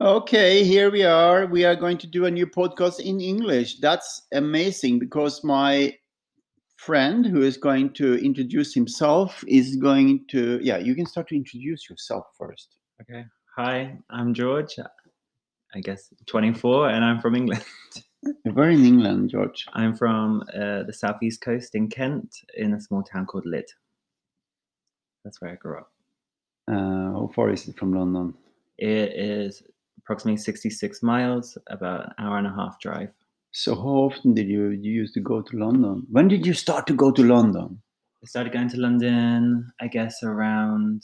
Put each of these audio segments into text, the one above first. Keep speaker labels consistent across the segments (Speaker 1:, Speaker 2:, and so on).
Speaker 1: Okay, here we are. We are going to do a new podcast in English. That's amazing because my friend who is going to introduce himself is going to yeah, you can start to introduce yourself first.
Speaker 2: Okay. Hi, I'm George. I guess 24, and I'm from England.
Speaker 1: We're in England, George.
Speaker 2: I'm from uh, the southeast coast in Kent, in a small town called Lid. That's where I grew up.
Speaker 1: Uh, how far is it from London?
Speaker 2: It is approximately 66 miles, about an hour and a half drive.
Speaker 1: So how often did you, you used to go to London? When did you start to go to London?
Speaker 2: I started going to London, I guess, around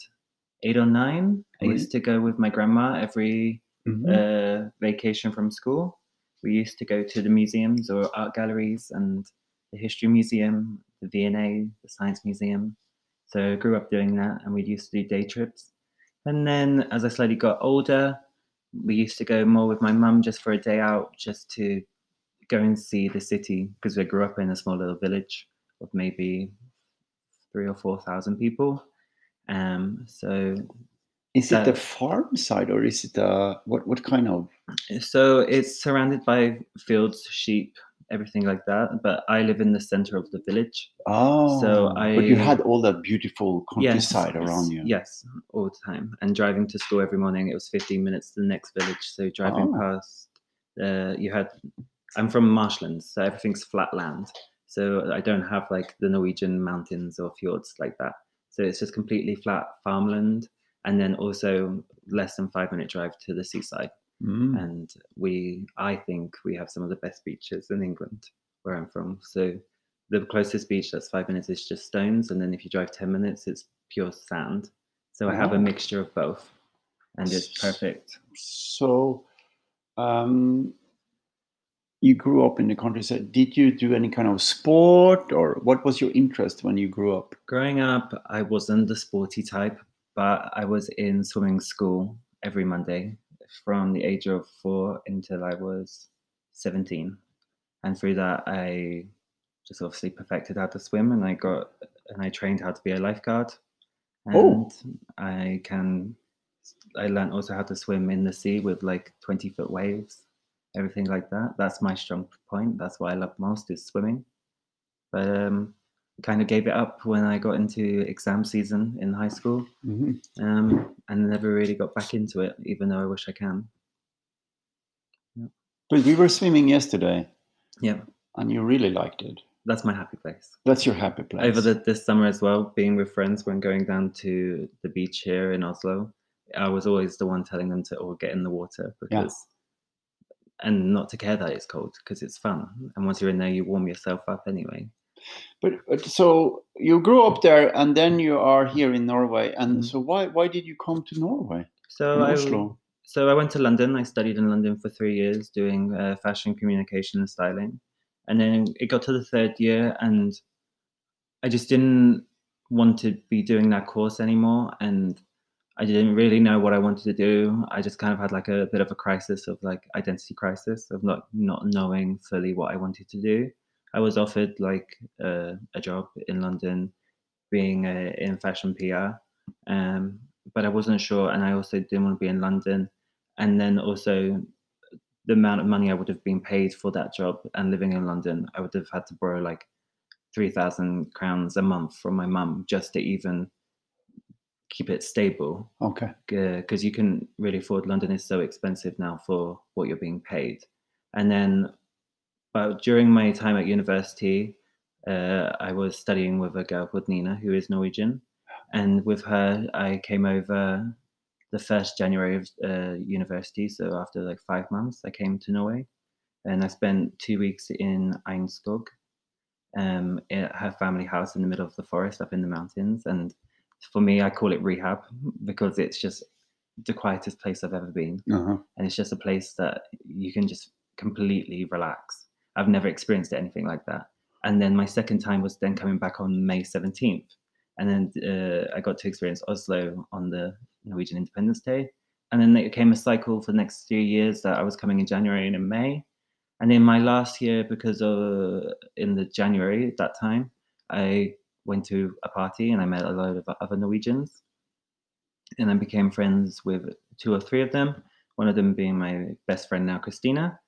Speaker 2: eight or nine. I
Speaker 1: Really?
Speaker 2: used to go with my grandma every uh, vacation from school. We used to go to the museums or art galleries and the history museum, the V&A, the science museum. So I grew up doing that, and we used to do day trips. And then as I slowly got older, we used to go more with my mum just for a day out, just to go and see the city because we grew up in a small little village of maybe three or four thousand people. Um, so
Speaker 1: Is it
Speaker 2: Uh,
Speaker 1: a farm side or is it a what what kind of
Speaker 2: So it's surrounded by fields, sheep, everything like that. But I live in the center of the village.
Speaker 1: oh but you
Speaker 2: I-
Speaker 1: had all that beautiful countryside around you.
Speaker 2: Yes, all the time. And driving to school every morning, it was 15 minutes to the next village. So driving
Speaker 1: Oh.
Speaker 2: past, uh, you had. I'm from marshlands, so everything's flat land. So I don't have like the Norwegian mountains or fjords like that. So it's just completely flat farmland, and then also less than five minute drive to the seaside
Speaker 1: Mm.
Speaker 2: and we i think we have some of the best beaches in england where i'm from so the closest beach that's five minutes is just stones and then if you drive 10 minutes it's pure sand so i have a
Speaker 1: Wow.
Speaker 2: mixture of both and it's perfect
Speaker 1: So, um, you grew up in the countryside. Did you do any kind of sport, or what was your interest when you grew up?
Speaker 2: growing up i wasn't the sporty type but i was in swimming school every monday from the age of four until i was 17 and through that i just obviously perfected how to swim and i got and i trained how to be a lifeguard and
Speaker 1: Oh.
Speaker 2: i can i learned also how to swim in the sea with like 20 foot waves everything like that that's my strong point that's what i love most is swimming but um kind of gave it up when i got into exam season in high school um and never really got back into it even though i wish i can
Speaker 1: But we were swimming yesterday,
Speaker 2: yeah
Speaker 1: and you really liked it.
Speaker 2: that's my happy place
Speaker 1: That's your happy place.
Speaker 2: over the, this summer as well, being with friends when going down to the beach here in Oslo, I was always the one telling them to all get in the water because and not to care that it's cold because it's fun. And once you're in there, you warm yourself up anyway.
Speaker 1: but, but so you grew up there, and then you are here in Norway. And
Speaker 2: Mm.
Speaker 1: so why why did you come to Norway?
Speaker 2: So
Speaker 1: in
Speaker 2: I
Speaker 1: Oslo?
Speaker 2: so I went to London. I studied in London for three years doing uh, fashion communication and styling, and then it got to the third year, and I just didn't want to be doing that course anymore, and I didn't really know what I wanted to do. I just kind of had like a bit of a crisis of like identity crisis of not not knowing fully what I wanted to do. I was offered like uh, a job in London, being uh, in fashion PR, um, but I wasn't sure, and I also didn't want to be in London, and then also the amount of money I would have been paid for that job and living in London, I would have had to borrow like three thousand crowns a month from my mum just to even keep it stable
Speaker 1: Okay.
Speaker 2: because uh, you can really afford London is so expensive now for what you're being paid. And then, but during my time at university, uh, I was studying with a girl called Nina, who is Norwegian, and with her, I came over the first January of uh, university. So after like five months, I came to Norway, and I spent two weeks in Einskog, um, at her family house in the middle of the forest, up in the mountains, and for me, I call it rehab because it's just the quietest place I've ever been.
Speaker 1: Uh-huh.
Speaker 2: And it's just a place that you can just completely relax. I've never experienced anything like that. And then my second time was then coming back on May 17th. And then uh, I got to experience Oslo on the Norwegian Independence Day. And then it came a cycle for the next few years that I was coming in January and in May. And in my last year, because of in the January at that time, I went to a party and I met a load of other Norwegians. And I became friends with two or three of them. One of them being my best friend now, Christina.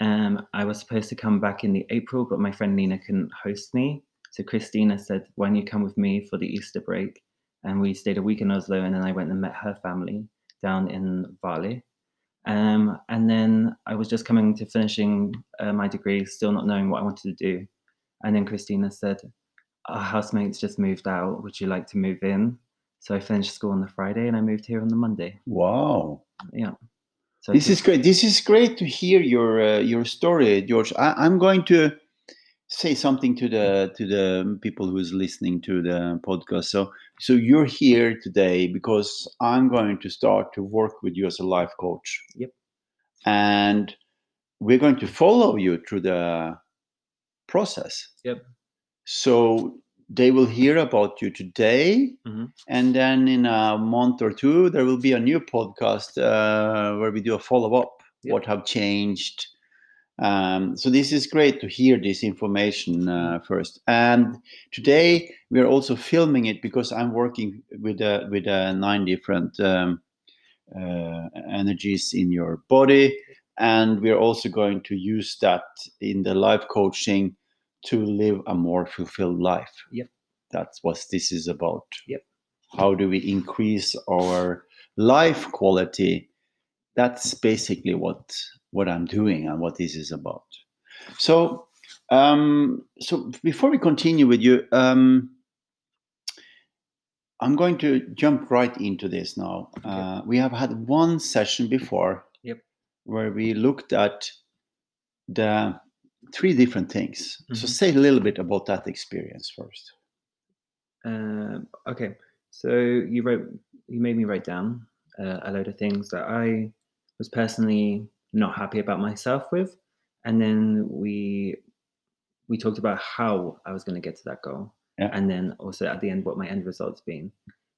Speaker 2: Um, I was supposed to come back in the April, but my friend Nina couldn't host me. So Christina said, "Why don't you come with me for the Easter break?" And we stayed a week in Oslo, and then I went and met her family down in Vale. Um, and then I was just coming to finishing uh, my degree, still not knowing what I wanted to do. And then Christina said, "Our housemates just moved out. Would you like to move in?" So I finished school on the Friday, and I moved here on the Monday.
Speaker 1: Wow.
Speaker 2: Yeah. So
Speaker 1: This
Speaker 2: it's-
Speaker 1: is great. This is great to hear your uh, your story, George. I, I'm going to say something to the to the people who's listening to the podcast. So so you're here today because I'm going to start to work with you as a life coach.
Speaker 2: Yep.
Speaker 1: And we're going to follow you through the process.
Speaker 2: Yep.
Speaker 1: So they will hear about you today
Speaker 2: Mhm.
Speaker 1: and then in a month or two there will be a new podcast uh, where we do a follow-up
Speaker 2: Yep.
Speaker 1: what have changed um, so this is great to hear this information uh, first and today we are also filming it because i'm working with uh, with uh, nine different um, uh, energies in your body and we're also going to use that in the life coaching to live a more fulfilled life
Speaker 2: Yep.
Speaker 1: that's what this is about
Speaker 2: Yep.
Speaker 1: how do we increase our life quality that's basically what what i'm doing and what this is about so um so before we continue with you um i'm going to jump right into this now uh, we have had one session before
Speaker 2: Yep.
Speaker 1: where we looked at the three different things so
Speaker 2: Mhm.
Speaker 1: say a little bit about that experience first
Speaker 2: Um, okay, so you wrote, you made me write down uh, a load of things that I was personally not happy about myself with, and then we we talked about how I was going to get to that goal,
Speaker 1: Yeah.
Speaker 2: and then also at the end what my end result's been.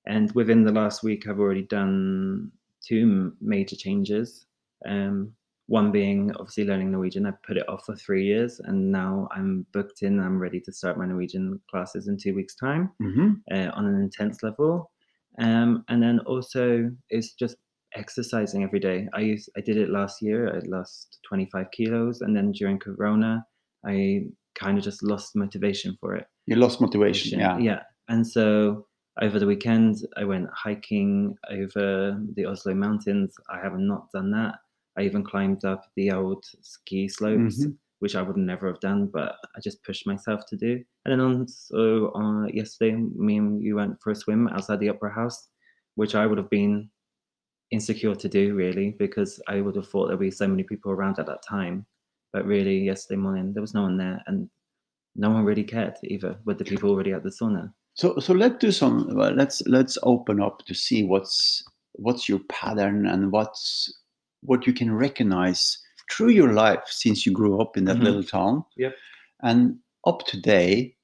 Speaker 2: And within the last week, I've already done two m- major changes. Um, one being obviously learning Norwegian. I put it off for three years, and now I'm booked in. I'm ready to start my Norwegian classes in two weeks' time
Speaker 1: mm-hmm.
Speaker 2: uh, on an intense level. Um, and then also it's just exercising every day. I used I did it last year. I lost 25 kilos, and then during Corona, I kind of just lost motivation for it.
Speaker 1: you lost motivation yeah
Speaker 2: yeah. And so over the weekend, I went hiking over the Oslo mountains. I have not done that. I even climbed up the old ski slopes
Speaker 1: Mhm.
Speaker 2: which I would never have done, but I just pushed myself to do. And then on so uh, yesterday, me and you went for a swim outside the Opera House, which I would have been insecure to do really because I would have thought there'd be so many people around at that time. But really, yesterday morning there was no one there, and no one really cared either. With the people already at the sauna,
Speaker 1: So so let's do some. Well, let's let's open up to see what's what's your pattern and what's what you can recognize through your life since you grew up in that
Speaker 2: Mhm.
Speaker 1: little town.
Speaker 2: Yep.
Speaker 1: And up today,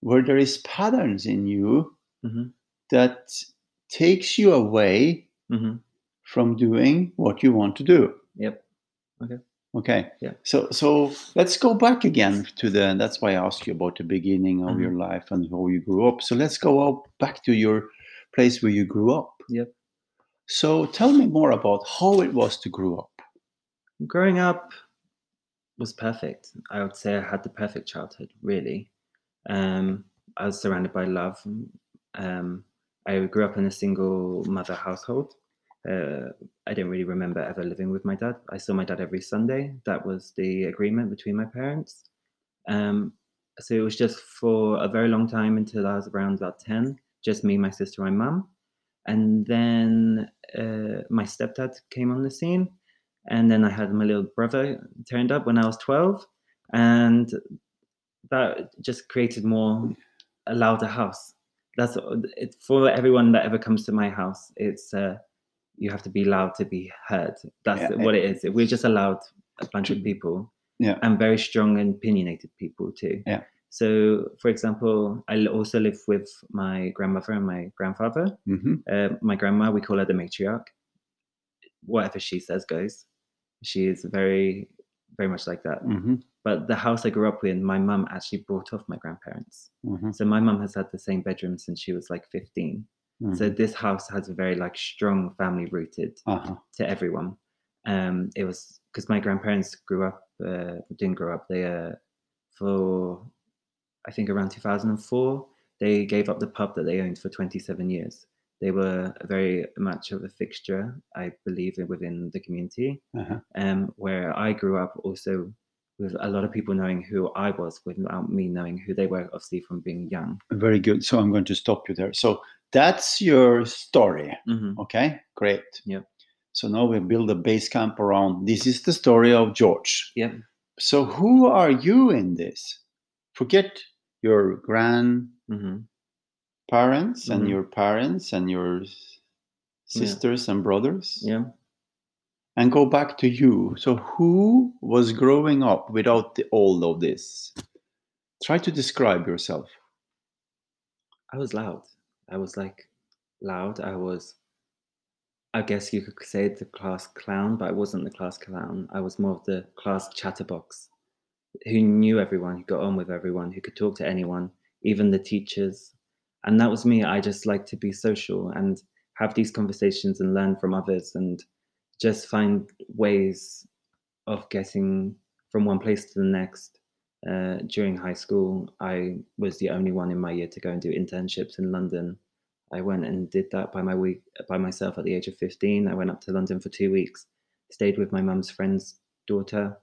Speaker 1: where there is patterns in you
Speaker 2: Mhm.
Speaker 1: that takes you away
Speaker 2: hmm
Speaker 1: from doing what you want to do.
Speaker 2: Yep.
Speaker 1: Okay.
Speaker 2: Yeah.
Speaker 1: So so let's go back again to the. That's why I asked you about the beginning of
Speaker 2: Mhm.
Speaker 1: your life and how you grew up. So let's go out back to your place where you grew up.
Speaker 2: Yep.
Speaker 1: So tell me more about how it was to grow up.
Speaker 2: growing up was perfect. I would say I had the perfect childhood, really. Um, I was surrounded by love. Um, I grew up in a single mother household. Uh, I don't really remember ever living with my dad. I saw my dad every Sunday. That was the agreement between my parents. Um, so it was just for a very long time until I was around about 10, just me, my sister, and my mum. And then uh, my stepdad came on the scene and then I had my little brother turned up when I was 12, and that just created more a louder house. That's it's for everyone that ever comes to my house. It's uh, you have to be loud to be heard. That's
Speaker 1: Yeah,
Speaker 2: what it is. We're just allowed a bunch of people,
Speaker 1: Yeah.
Speaker 2: and very strong and opinionated people too.
Speaker 1: Yeah.
Speaker 2: So, for example, I l- also live with my grandmother and my grandfather
Speaker 1: Mm-hmm.
Speaker 2: uh, my grandma, we call her the matriarch. Whatever she says goes. She is very, very much like that.
Speaker 1: Mm-hmm.
Speaker 2: But the house I grew up in, my mum actually brought off my grandparents.
Speaker 1: Mm-hmm.
Speaker 2: So my mum has had the same bedroom since she was like
Speaker 1: Mm-hmm.
Speaker 2: 15. So this house has a very like strong family rooted
Speaker 1: uh-huh.
Speaker 2: to everyone. um, it was because my grandparents grew up, uh, didn't grow up. They uh, for I think around 2004, they gave up the pub that they owned for 27 years. They were very much of a fixture, I believe, within the community.
Speaker 1: Uh-huh.
Speaker 2: Um, where I grew up, also with a lot of people knowing who I was without me knowing who they were, obviously from being young.
Speaker 1: Very good. So I'm going to stop you there. So that's your story.
Speaker 2: hmm
Speaker 1: Okay, great.
Speaker 2: Yep.
Speaker 1: So now we build a base camp around this is the story of George.
Speaker 2: Yep.
Speaker 1: So who are you in this? Forget your grandparents
Speaker 2: hmm
Speaker 1: and
Speaker 2: Mhm.
Speaker 1: your parents and your s-
Speaker 2: Yeah.
Speaker 1: sisters and brothers
Speaker 2: Yeah.
Speaker 1: and go back to you. So who was growing up without the, all of this? Try to describe yourself.
Speaker 2: I was loud. I was like loud. I was, I guess you could say the class clown, but I wasn't the class clown. I was more of the class chatterbox who knew everyone, who got on with everyone, who could talk to anyone, even the teachers. And that was me. I just like to be social and have these conversations and learn from others and just find ways of getting from one place to the next uh, during high school, I was the only one in my year to go and do internships in London. I went and did that by my week by myself at the age of fifteen. I went up to London for two weeks, stayed with my mum's friend's daughter,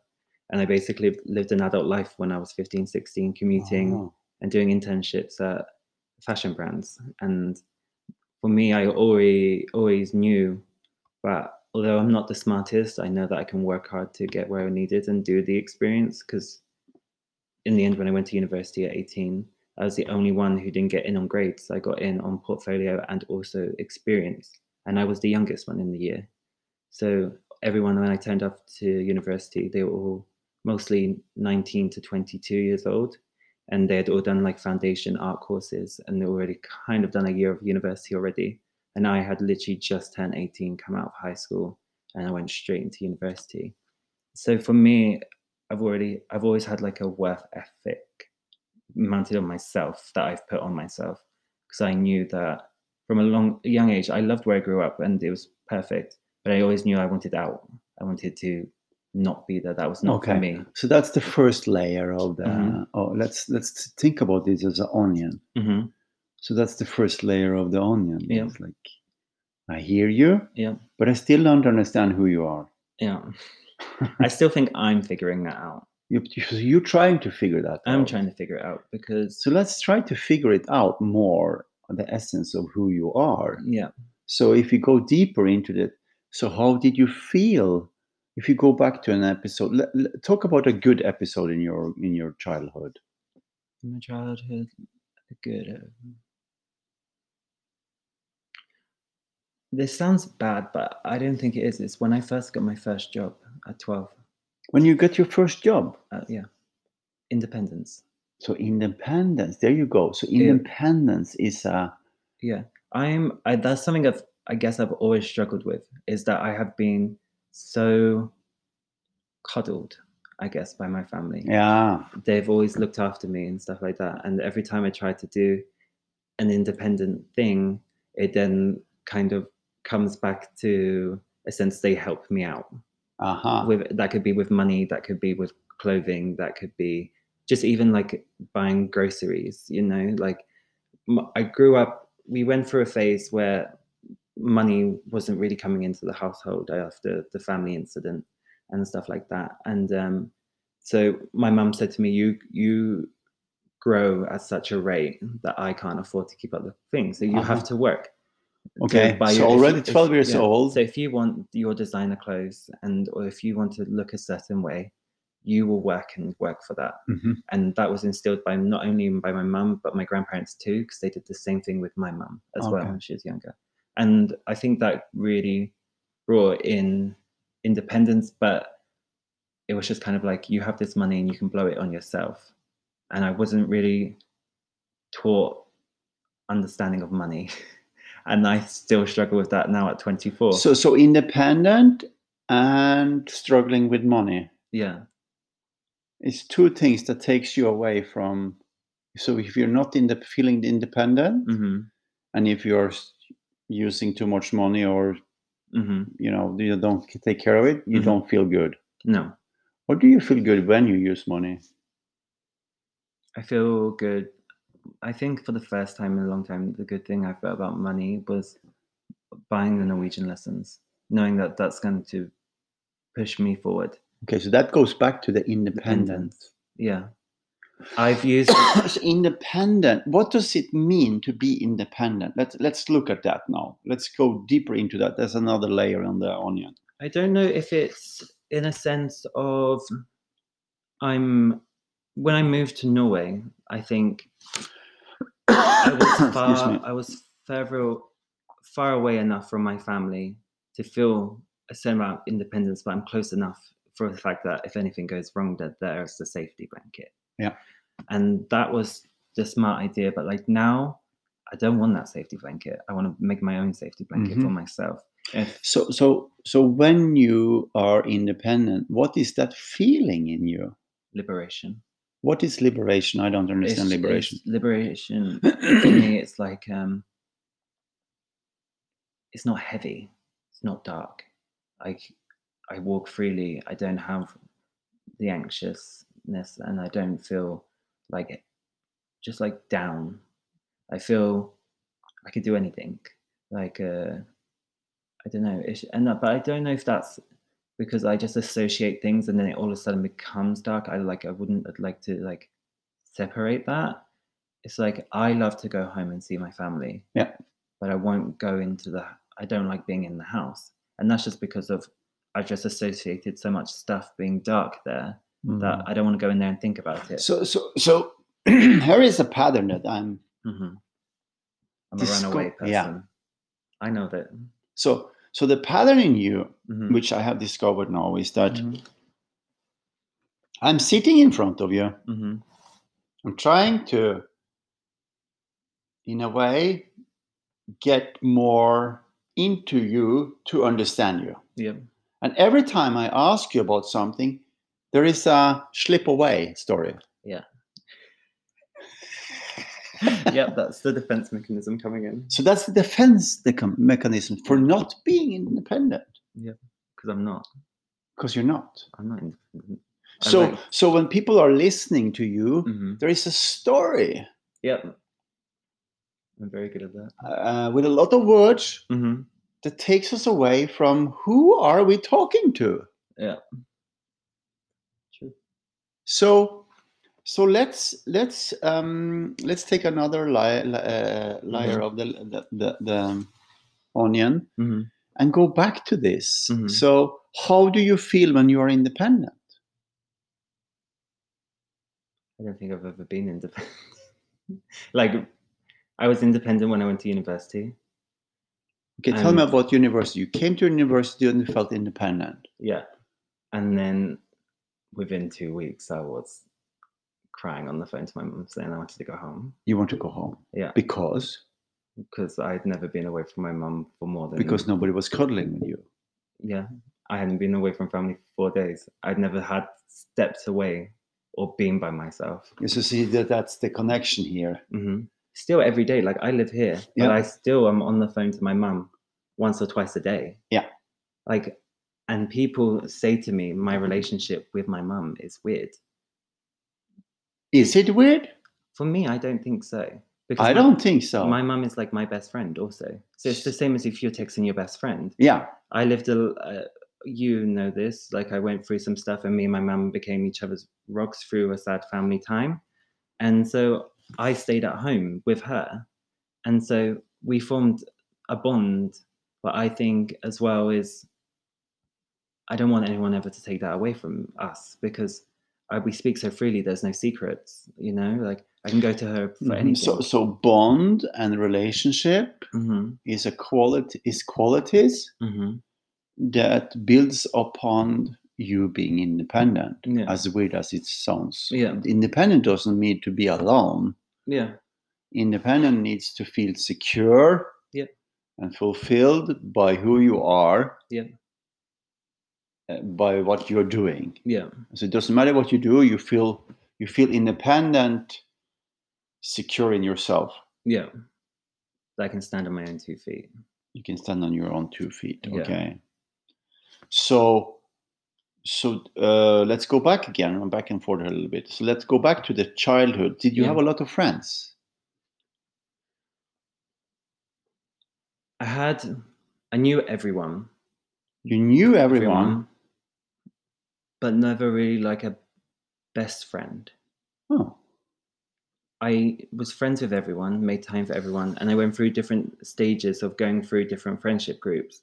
Speaker 2: and I basically lived an adult life when I was 15, 16, commuting
Speaker 1: Oh,
Speaker 2: and doing internships at fashion brands. And for me, I already always knew that although I'm not the smartest, I know that I can work hard to get where I needed and do the experience. Because in the end, when I went to university at 18, I was the only one who didn't get in on grades. I got in on portfolio and also experience, and I was the youngest one in the year. So everyone, when I turned up to university, they were all mostly 19 to 22 years old and they had all done like foundation art courses and they already kind of done a year of university already. And I had literally just turned 18, come out of high school, and I went straight into university. So for me, I've already, I've always had like a worth ethic mounted on myself that I've put on myself because I knew that from a long, a young age, I loved where I grew up and it was perfect, but I always knew I wanted out. I wanted to not be there. That was not
Speaker 1: Okay.
Speaker 2: for me.
Speaker 1: So that's the first layer of the.
Speaker 2: Mhm.
Speaker 1: Oh, let's let's think about this as an onion.
Speaker 2: hmm
Speaker 1: So that's the first layer of the onion.
Speaker 2: Yeah.
Speaker 1: It's like I hear you,
Speaker 2: Yeah.
Speaker 1: but I still don't understand who you are.
Speaker 2: Yeah. I still think I'm figuring that out.
Speaker 1: You, you're trying to figure that.
Speaker 2: I'm
Speaker 1: out.
Speaker 2: trying to figure it out because,
Speaker 1: So let's try to figure it out more the essence of who you are.
Speaker 2: yeah,
Speaker 1: So if you go deeper into that, so how did you feel? If you go back to an episode, le- le- talk about a good episode in your in your childhood.
Speaker 2: in my childhood, good. um, This sounds bad, but I don't think it is. It's when I first got my first job at 12.
Speaker 1: When you get your first job,
Speaker 2: Uh, yeah. Independence.
Speaker 1: so independence. There you go. So
Speaker 2: Yeah.
Speaker 1: independence is a
Speaker 2: Yeah, I'm. I, that's something I've. I guess I've always struggled with is that I have been so coddled, I guess, by my family.
Speaker 1: yeah.
Speaker 2: They've always looked after me and stuff like that. And every time I tried to do an independent thing, it then kind of comes back to a sense they help me out
Speaker 1: Aha.
Speaker 2: with that could be with money that could be with clothing that could be just even like buying groceries you know like m- i grew up we went through a phase where money wasn't really coming into the household after the family incident and stuff like that and um so my mum said to me you you grow at such a rate that i can't afford to keep up the thing so you have
Speaker 1: Uh-huh.
Speaker 2: to work
Speaker 1: Okay, so already 12 years
Speaker 2: old.
Speaker 1: old.
Speaker 2: So if you want your designer clothes and or if you want to look a certain way, you will work and work for that.
Speaker 1: Mhm.
Speaker 2: And that was instilled by not only by my mum but my grandparents too, because they did the same thing with my mum as well
Speaker 1: Okay.
Speaker 2: when she was younger. And I think that really brought in independence, but it was just kind of like you have this money and you can blow it on yourself. And I wasn't really taught understanding of money. And I still struggle with that now at 24.
Speaker 1: So so independent and struggling with money.
Speaker 2: yeah.
Speaker 1: It's two things that takes you away from. So if you're not in the feeling independent,
Speaker 2: hmm
Speaker 1: and if you're s- using too much money or
Speaker 2: hmm
Speaker 1: you know you don't take care of it you
Speaker 2: Mhm.
Speaker 1: don't feel good
Speaker 2: No,
Speaker 1: or do you feel good when you use money
Speaker 2: I feel good. I think for the first time in a long time, the good thing I felt about money was buying the Norwegian lessons, knowing that that's going to push me forward.
Speaker 1: okay so that goes back to the independence
Speaker 2: Yeah. I've used
Speaker 1: So independent what does it mean to be independent let's let's look at that now let's go deeper into that there's another layer on the onion
Speaker 2: I don't know if it's in a sense of I'm when I moved to Norway, I think I was
Speaker 1: Excuse me.
Speaker 2: far I was further far away enough from my family to feel a certain amount of independence, but I'm close enough for the fact that if anything goes wrong, that there's the safety blanket.
Speaker 1: Yeah.
Speaker 2: And that was the smart idea. But like now I don't want that safety blanket. I want to make my own safety blanket for
Speaker 1: Mm-hmm.
Speaker 2: myself. If
Speaker 1: so so so when you are independent what is that feeling in you
Speaker 2: liberation.
Speaker 1: what is liberation i don't
Speaker 2: It's-
Speaker 1: understand
Speaker 2: it's
Speaker 1: liberation
Speaker 2: liberation for me, it's like um, it's not heavy. It's not dark. Like I walk freely. I don't have the anxiousness, and I don't feel like just like down. I feel I could do anything. Like uh, I don't know. It's, and that- but I don't know if that's because I just associate things, and then it all of a sudden becomes dark. I like I wouldn't I'd like to like separate that. It's like I love to go home and see my family.
Speaker 1: Yeah.
Speaker 2: But I won't go into the. I don't like being in the house, and that's just because of I've just associated so much stuff being dark there that I don't want to go in there and think about it.
Speaker 1: Mm. so so so here is a pattern that i'm
Speaker 2: Mhm. I'm
Speaker 1: Disco-
Speaker 2: a runaway person.
Speaker 1: yeah.
Speaker 2: I know that.
Speaker 1: so so the pattern in you
Speaker 2: Mhm.
Speaker 1: which i have discovered now is that
Speaker 2: Mhm.
Speaker 1: i'm sitting in front of you
Speaker 2: Mhm.
Speaker 1: i'm trying to in a way get more into you to understand you
Speaker 2: Yep.
Speaker 1: And every time I ask you about something, there is a slip away story.
Speaker 2: yep. That's the defense mechanism coming in
Speaker 1: So that's the defense decom- mechanism for not being independent
Speaker 2: because I'm not.
Speaker 1: because you're not.
Speaker 2: I'm not independent. I
Speaker 1: So,
Speaker 2: like-
Speaker 1: so when people are listening to you,
Speaker 2: Mhm.
Speaker 1: there is a story
Speaker 2: Yep. I'm very good at that.
Speaker 1: uh, with a lot of words
Speaker 2: Mm-hmm.
Speaker 1: that takes us away from who are we talking to.
Speaker 2: True.
Speaker 1: So, so let's let's um, let's take another li- li- uh, layer of the the, the, the onion.
Speaker 2: Mm-hmm.
Speaker 1: and go back to this.
Speaker 2: Mhm.
Speaker 1: So, how do you feel when you are independent?
Speaker 2: I don't think I've ever been independent. like, I was independent when I went to university.
Speaker 1: Okay, tell me
Speaker 2: Um,
Speaker 1: about university. You came to university and you felt independent.
Speaker 2: Yeah. And then within two weeks, I was crying on the phone to my mum saying I wanted to go home
Speaker 1: You want to go home.
Speaker 2: Yeah.
Speaker 1: Because
Speaker 2: because I'd never been away from my mum for more than.
Speaker 1: because nobody was cuddling with you.
Speaker 2: Yeah. I hadn't been away from family for four days. I'd never had stepped away or been by myself.
Speaker 1: So see that that's the connection here.
Speaker 2: hmm Still every day, like I live here,
Speaker 1: Yeah.
Speaker 2: but I still am on the phone to my mum once or twice a day.
Speaker 1: Yeah.
Speaker 2: Like, and people say to me, my relationship with my mum is weird.
Speaker 1: Is it weird?
Speaker 2: For me, I don't think so. Because
Speaker 1: I
Speaker 2: my-
Speaker 1: don't think so.
Speaker 2: My mum is like my best friend, also. So it's the same as if you're texting your best friend.
Speaker 1: yeah.
Speaker 2: I lived a, l- uh, you know this, like I went through some stuff, and me and my mum became each other's rocks through a sad family time. And so I stayed at home with her. And so we formed a bond. But I think as well is I don't want anyone ever to take that away from us because I, we speak so freely, there's no secrets, you know? Like I can go to her for
Speaker 1: Mhm.
Speaker 2: anything.
Speaker 1: So so bond and relationship
Speaker 2: hmm
Speaker 1: is a quality is qualities
Speaker 2: hmm
Speaker 1: that builds upon you being independent.
Speaker 2: Yeah.
Speaker 1: As weird as it sounds.
Speaker 2: Yeah.
Speaker 1: Independent doesn't mean to be alone.
Speaker 2: Yeah.
Speaker 1: independent needs to feel secure
Speaker 2: Yeah.
Speaker 1: and fulfilled by who you are
Speaker 2: Yeah.
Speaker 1: uh, by what you're doing
Speaker 2: Yeah.
Speaker 1: so it doesn't matter what you do you feel you feel independent secure in yourself
Speaker 2: Yeah. That I can stand on my own two feet.
Speaker 1: You can stand on your own two feet.
Speaker 2: Yeah.
Speaker 1: Okay. So, so uh, let's go back again. I'm back and forth a little bit. So let's go back to the childhood. Did you
Speaker 2: Yeah.
Speaker 1: have a lot of friends?
Speaker 2: I had, I knew everyone.
Speaker 1: You knew everyone.
Speaker 2: but never really like a best friend.
Speaker 1: Oh,
Speaker 2: I was friends with everyone, made time for everyone, and I went through different stages of going through different friendship groups.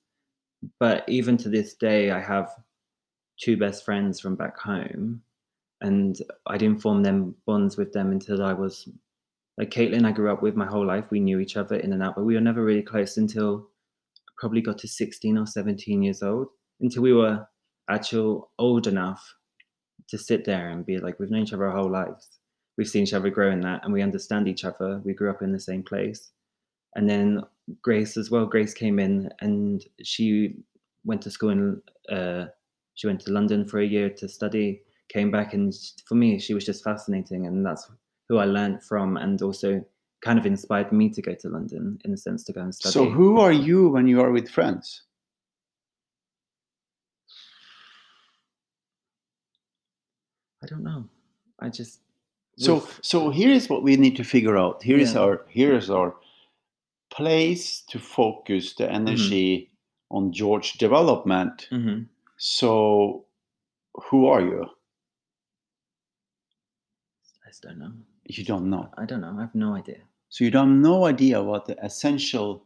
Speaker 2: But even to this day, I have two best friends from back home, and I didn't form them bonds with them until I was like Caitlin. I grew up with my whole life. We knew each other in and out, but we were never really close until I probably got to 16 or 17 years old, until we were actual old enough to sit there and be like, we've known each other our whole lives we've seen each other grow in that and we understand each other. We grew up in the same place. And then Grace as well. Grace came in and she went to school in, uh, she went to London for a year to study, came back. And s- for me, she was just fascinating. And that's who I learned from and also kind of inspired me to go to London in a sense to go and study.
Speaker 1: so who are you when you are with friends?
Speaker 2: I don't know. I just.
Speaker 1: So,
Speaker 2: with-
Speaker 1: so here is what we need to figure out. Here is
Speaker 2: Yeah.
Speaker 1: our here is our place to focus the energy on George development.
Speaker 2: Mhm.
Speaker 1: So, who are you?
Speaker 2: I just don't know.
Speaker 1: You don't know.
Speaker 2: I don't know. I have no idea.
Speaker 1: So you don't have no idea what the essential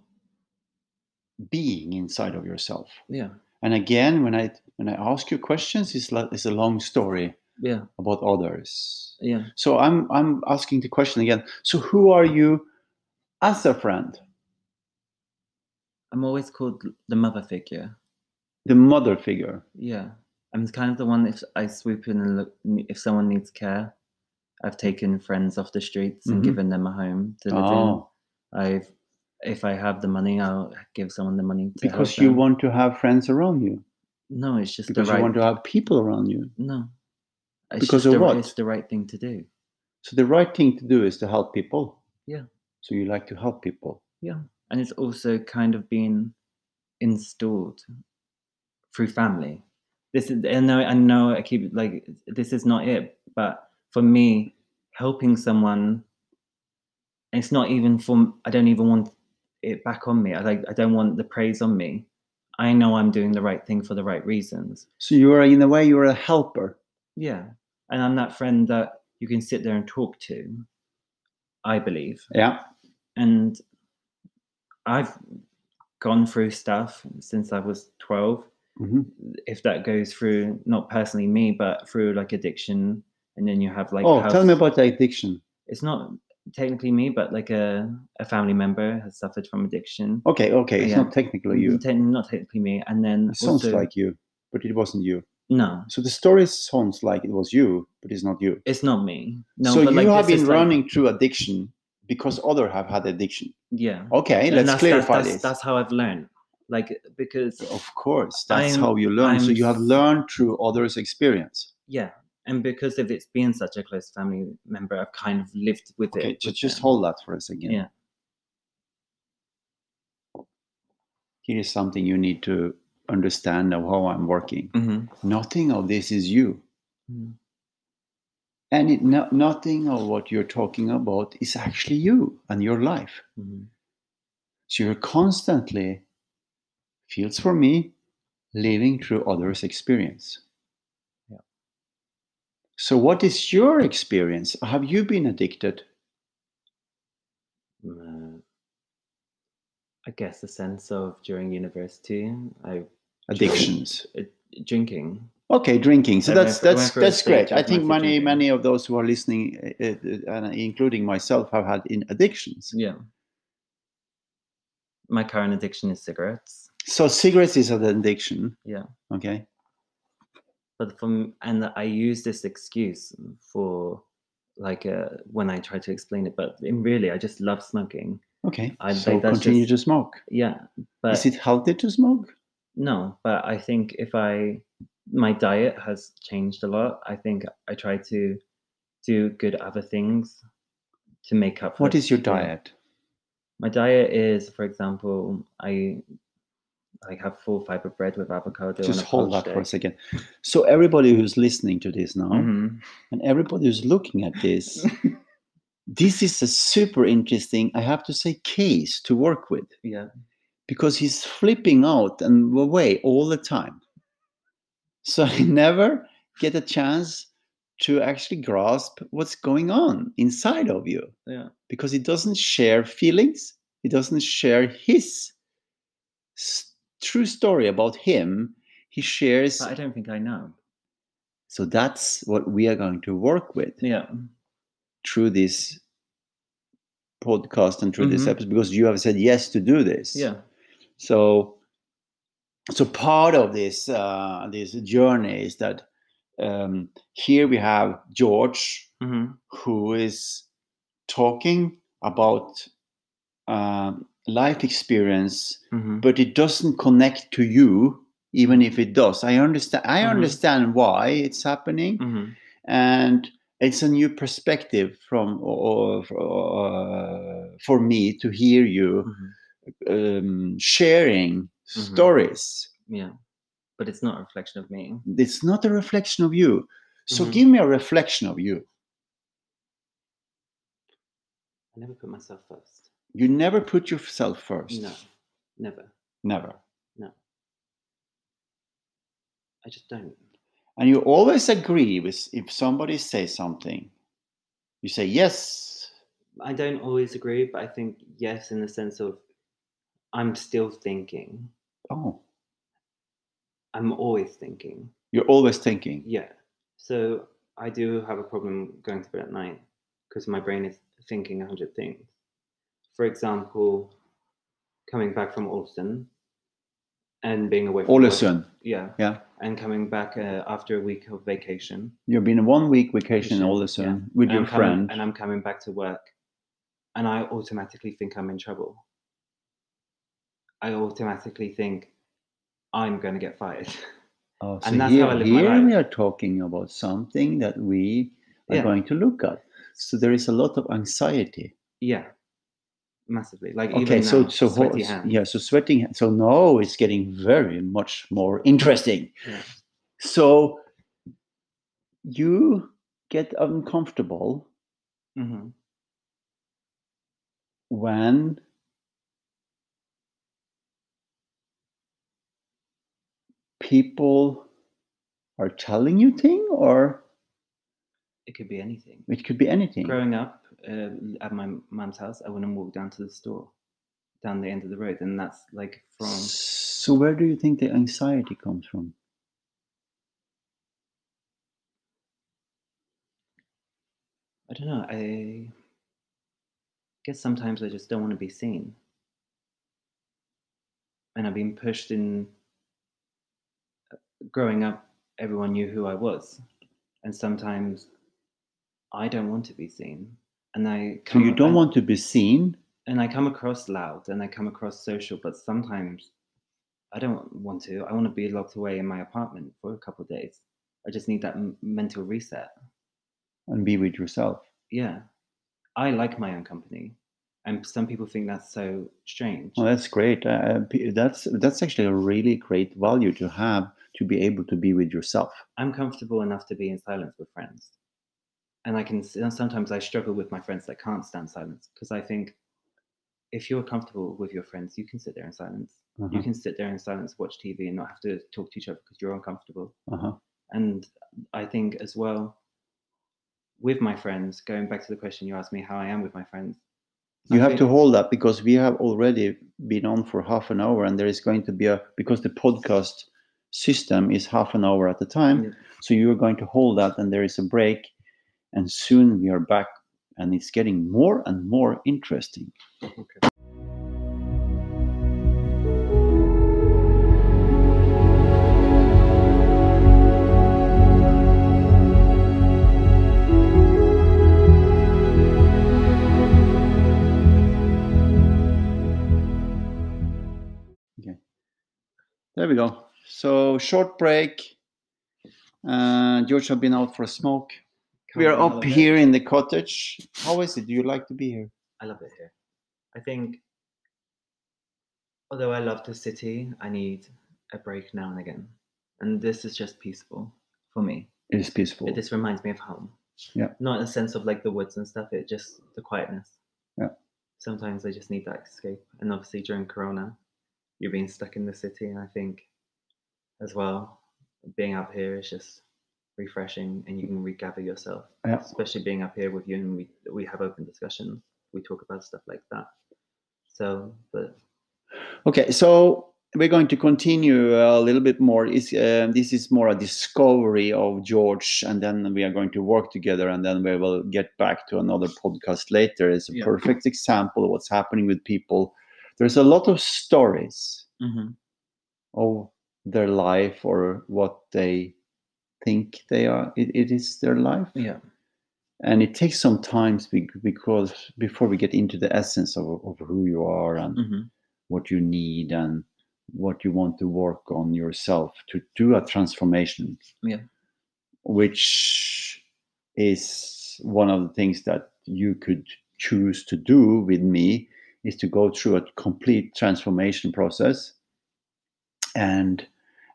Speaker 1: being inside of yourself.
Speaker 2: Yeah.
Speaker 1: And again, when I when I ask you questions, it's like it's a long story
Speaker 2: Yeah.
Speaker 1: about others.
Speaker 2: Yeah.
Speaker 1: So I'm I'm asking the question again. So who are you as a friend?
Speaker 2: I'm always called the mother figure.
Speaker 1: The mother figure.
Speaker 2: Yeah, I'm kind of the one. If I swoop in and look, if someone needs care, I've taken friends off the streets
Speaker 1: Mhm.
Speaker 2: and given them a home to live
Speaker 1: Oh,
Speaker 2: in. I've, if I have the money, I'll give someone the money to help
Speaker 1: because you
Speaker 2: them.
Speaker 1: want to have friends around you.
Speaker 2: No, it's just
Speaker 1: Because
Speaker 2: the right.
Speaker 1: you want to have people around you.
Speaker 2: no, it's
Speaker 1: Because
Speaker 2: just
Speaker 1: of
Speaker 2: the,
Speaker 1: what?
Speaker 2: It's the right thing to do.
Speaker 1: So the right thing to do is to help people.
Speaker 2: Yeah.
Speaker 1: So you like to help people.
Speaker 2: and it's also kind of been installed through family. This is I know I know I keep like this is not it, but for me, helping someone, it's not even for I don't even want it back on me. I like I don't want the praise on me. I know I'm doing the right thing for the right reasons.
Speaker 1: So you are in a way you are a helper.
Speaker 2: Yeah, and I'm that friend that you can sit there and talk to. I believe
Speaker 1: Yeah.
Speaker 2: and I've gone through stuff since I was 12.
Speaker 1: Mhm.
Speaker 2: If that goes through, not personally me, but through like addiction, and then you have like,
Speaker 1: oh,
Speaker 2: how-
Speaker 1: tell me about the addiction.
Speaker 2: it's not technically me, but like a, a family member has suffered from addiction.
Speaker 1: Okay, okay, it's
Speaker 2: Yeah.
Speaker 1: not technically Oh, you.
Speaker 2: Te- not technically me. And then
Speaker 1: It sounds
Speaker 2: also-
Speaker 1: like you, but it wasn't you.
Speaker 2: no,
Speaker 1: So the story sounds like it was you, but it's not you.
Speaker 2: it's not me. No,
Speaker 1: so
Speaker 2: but
Speaker 1: you
Speaker 2: like
Speaker 1: have
Speaker 2: this is
Speaker 1: been
Speaker 2: like-
Speaker 1: running through addiction because other have had addiction.
Speaker 2: yeah.
Speaker 1: Okay,
Speaker 2: And
Speaker 1: let's
Speaker 2: that's,
Speaker 1: clarify
Speaker 2: that's,
Speaker 1: this.
Speaker 2: That's how I've learned. Like, because
Speaker 1: of course, that's
Speaker 2: I'm-
Speaker 1: how you learn. so
Speaker 2: I'm
Speaker 1: you have
Speaker 2: s-
Speaker 1: learned through others' experience.
Speaker 2: yeah and because of it's being such a close family member i've kind of lived with it
Speaker 1: Okay, ju-
Speaker 2: with
Speaker 1: just
Speaker 2: them.
Speaker 1: hold that for a second.
Speaker 2: Yeah.
Speaker 1: Here is something you need to understand of how I'm working.
Speaker 2: Mhm.
Speaker 1: Nothing of this is you.
Speaker 2: Mhm.
Speaker 1: Mm-hmm. And it, no, nothing of what you're talking about is actually you and your life.
Speaker 2: Mhm.
Speaker 1: So you're constantly, feels for me, living through others' experience.
Speaker 2: Yeah.
Speaker 1: So, what is your experience? Have you been addicted?
Speaker 2: Uh, i guess a sense of during university i
Speaker 1: Addictions.
Speaker 2: uh, drinking
Speaker 1: Okay, drinking. So
Speaker 2: I
Speaker 1: that's
Speaker 2: went- I went
Speaker 1: that's
Speaker 2: through a
Speaker 1: that's great.
Speaker 2: stage
Speaker 1: I
Speaker 2: of
Speaker 1: think
Speaker 2: massive
Speaker 1: many
Speaker 2: drinking.
Speaker 1: many of those who are listening, uh, uh, and including myself, have had in addictions.
Speaker 2: yeah my current addiction is cigarettes
Speaker 1: So cigarettes is an addiction.
Speaker 2: Yeah.
Speaker 1: Okay.
Speaker 2: but from and i use this excuse for like uh, when i try to explain it but in really i just love smoking
Speaker 1: Okay.
Speaker 2: I
Speaker 1: so
Speaker 2: think that's
Speaker 1: continue
Speaker 2: just-
Speaker 1: to smoke.
Speaker 2: yeah but
Speaker 1: is it healthy to smoke?
Speaker 2: no but i think if i my diet has changed a lot i think i try to do good other things to make up for
Speaker 1: What
Speaker 2: it.
Speaker 1: is your
Speaker 2: Yeah.
Speaker 1: diet?
Speaker 2: my diet is, for example, I like have full fiber bread with avocado.
Speaker 1: Just
Speaker 2: and a
Speaker 1: hold
Speaker 2: poached
Speaker 1: that for a
Speaker 2: egg.
Speaker 1: second. So everybody who's listening to this now,
Speaker 2: Mhm.
Speaker 1: and everybody who's looking at this, this is a super interesting, I have to say, case to work with
Speaker 2: Yeah,
Speaker 1: because he's flipping out and away all the time. So I never get a chance to actually grasp what's going on inside of you
Speaker 2: yeah,
Speaker 1: because he doesn't share feelings. He doesn't share his s- true story about him. He shares.
Speaker 2: but I don't think I know.
Speaker 1: So that's what we are going to work with
Speaker 2: Yeah,
Speaker 1: through this podcast and through this
Speaker 2: Mhm.
Speaker 1: episode because you have said yes to do this.
Speaker 2: yeah,
Speaker 1: So, so part of this uh, this journey is that um, here we have George
Speaker 2: hmm
Speaker 1: who is talking about um, life experience,
Speaker 2: hmm
Speaker 1: but it doesn't connect to you. Even if it does, I understand. I
Speaker 2: Mhm.
Speaker 1: understand why it's happening,
Speaker 2: hmm
Speaker 1: and it's a new perspective from or, or, uh, for me to hear you
Speaker 2: hmm
Speaker 1: um, sharing
Speaker 2: Mm-hmm.
Speaker 1: stories.
Speaker 2: yeah. But it's not a reflection of me.
Speaker 1: It's not a reflection of you. So
Speaker 2: Mhm.
Speaker 1: give me a reflection of you.
Speaker 2: I never put myself first.
Speaker 1: You never put yourself first.
Speaker 2: No, never.
Speaker 1: Never.
Speaker 2: I just don't.
Speaker 1: And you always agree with if somebody says something. You say yes.
Speaker 2: I don't always agree, but I think yes, in the sense of I'm still thinking.
Speaker 1: Oh,
Speaker 2: I'm always thinking.
Speaker 1: you're always thinking.
Speaker 2: Yeah. So I do have a problem going to bed at night because my brain is thinking a hundred things. For example, coming back from Alston and being away from
Speaker 1: All of
Speaker 2: work-
Speaker 1: a sudden,
Speaker 2: Yeah.
Speaker 1: Yeah.
Speaker 2: And coming back uh, after a week of vacation.
Speaker 1: you've been on one week vacation
Speaker 2: Vacation,
Speaker 1: all of a sudden with
Speaker 2: and
Speaker 1: your
Speaker 2: I'm coming-
Speaker 1: friend.
Speaker 2: and I'm coming back to work, and I automatically think I'm in trouble. I automatically think I'm going to get fired.
Speaker 1: Oh, so
Speaker 2: and that's
Speaker 1: here,
Speaker 2: how I live my
Speaker 1: here
Speaker 2: life.
Speaker 1: we are talking about something that we are
Speaker 2: Yeah.
Speaker 1: going to look at. So there is a lot of anxiety.
Speaker 2: yeah, massively. Like
Speaker 1: Okay,
Speaker 2: even
Speaker 1: so
Speaker 2: now,
Speaker 1: so ho-
Speaker 2: sweaty
Speaker 1: s-
Speaker 2: hands.
Speaker 1: yeah, so sweating. hand- So now it's getting very much more interesting.
Speaker 2: Yeah.
Speaker 1: So you get uncomfortable
Speaker 2: Mhm.
Speaker 1: when people are telling you thing, or
Speaker 2: It could be anything.
Speaker 1: it could be anything.
Speaker 2: Growing up uh, at my mum's house, I wouldn't walk down to the store, down the end of the road, and that's like from
Speaker 1: So where do you think the anxiety comes from?
Speaker 2: I don't know. I guess sometimes I just don't want to be seen. And I've been pushed in. uh, Growing up, everyone knew who I was. And sometimes I don't want to be seen. And I
Speaker 1: So
Speaker 2: come,
Speaker 1: you don't
Speaker 2: and,
Speaker 1: want to be seen.
Speaker 2: And I come across loud and I come across social, but sometimes I don't want to. I want to be locked away in my apartment for a couple of days. I just need that m- mental reset.
Speaker 1: and be with yourself.
Speaker 2: yeah, I like my own company, and some people think that's so strange.
Speaker 1: Well, that's great. Uh, Uh, p- that's that's actually a really great value to have to be able to be with yourself.
Speaker 2: I'm comfortable enough to be in silence with friends, and I can. s- and Sometimes I struggle with my friends that can't stand silence because I think if you're comfortable with your friends, you can sit there in silence. You
Speaker 1: Uh-huh,
Speaker 2: can sit there in silence, watch TV, and not have to talk to each other because you're uncomfortable.
Speaker 1: uh-huh.
Speaker 2: And I think as well, with my friends, going back to the question you asked me, how I am with my friends.
Speaker 1: You
Speaker 2: I
Speaker 1: have
Speaker 2: think-
Speaker 1: to hold that because we have already been on for half an hour, and there is going to be a because the podcast system is half an hour at a time.
Speaker 2: Yeah.
Speaker 1: So you are going to hold that, and there is a break, and soon we are back, and it's getting more and more interesting. There we go. So short break. Uh, George have been out for a smoke. we
Speaker 2: Come
Speaker 1: are
Speaker 2: on, I
Speaker 1: up
Speaker 2: love it.
Speaker 1: here in the cottage. How is it? Do you like to be here?
Speaker 2: I love it here. I think although I love the city, I need a break now and again. And this is just peaceful for me.
Speaker 1: It is peaceful.
Speaker 2: It just reminds me of home.
Speaker 1: Yeah.
Speaker 2: Not in a sense of like the woods and stuff, it just the quietness.
Speaker 1: Yeah.
Speaker 2: Sometimes I just need that escape. And obviously during Corona, you're being stuck in the city. And I think as well, being up here is just refreshing and you can regather yourself,
Speaker 1: Yeah.
Speaker 2: especially being up here with you and we, we have open discussions. We talk about stuff like that. So, but
Speaker 1: Okay, so we're going to continue a little bit more. It's, um, this is more a discovery of George, and then we are going to work together, and then we will get back to another podcast later. It's a
Speaker 2: Yeah.
Speaker 1: perfect example of what's happening with people. There's a lot of stories
Speaker 2: Mm-hmm.
Speaker 1: of their life or what they think they are. It, it is their life,
Speaker 2: yeah.
Speaker 1: and it takes some time be- because before we get into the essence of, of who you are and
Speaker 2: hmm
Speaker 1: what you need and what you want to work on yourself to do a transformation.
Speaker 2: Yeah.
Speaker 1: Which is one of the things that you could choose to do with me is to go through a complete transformation process and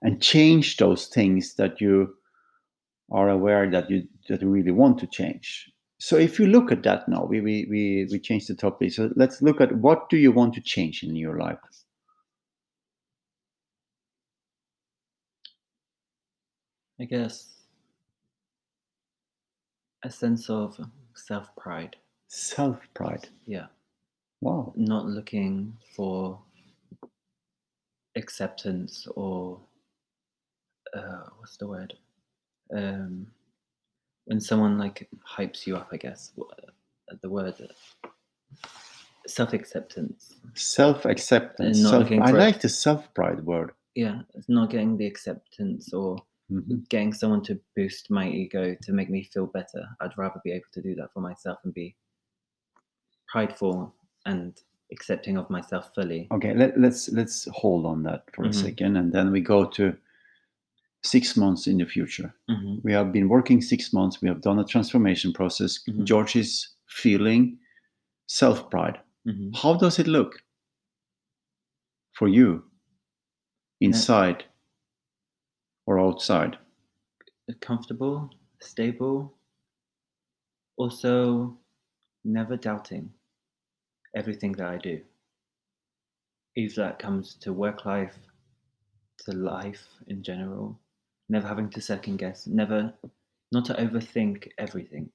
Speaker 1: and change those things that you are aware that you that you really want to change. So if you look at that now, we we we, we change the topic. So let's look at what do you want to change in your life?
Speaker 2: I guess a sense of self pride.
Speaker 1: Self pride.
Speaker 2: Yeah.
Speaker 1: Wow.
Speaker 2: Not looking for acceptance or uh, what's the word? Um, when someone like hypes you up, I guess wha- the word uh, self acceptance.
Speaker 1: Self acceptance.
Speaker 2: And not
Speaker 1: Self,
Speaker 2: looking
Speaker 1: I
Speaker 2: for it.
Speaker 1: like the self pride word.
Speaker 2: Yeah, it's not getting the acceptance or
Speaker 1: Mhm.
Speaker 2: getting someone to boost my ego to make me feel better. I'd rather be able to do that for myself and be prideful and accepting of myself fully.
Speaker 1: Okay, let, let's let's hold on that for a
Speaker 2: Mhm.
Speaker 1: second, and then we go to six months in the future.
Speaker 2: hmm
Speaker 1: We have been working six months. We have done a transformation process.
Speaker 2: Mhm.
Speaker 1: George is feeling self pride.
Speaker 2: hmm
Speaker 1: How does it look for you inside or outside?
Speaker 2: Comfortable, stable, also never doubting everything that I do. If that comes to work life, to life in general, never having to second guess, never not to overthink everything.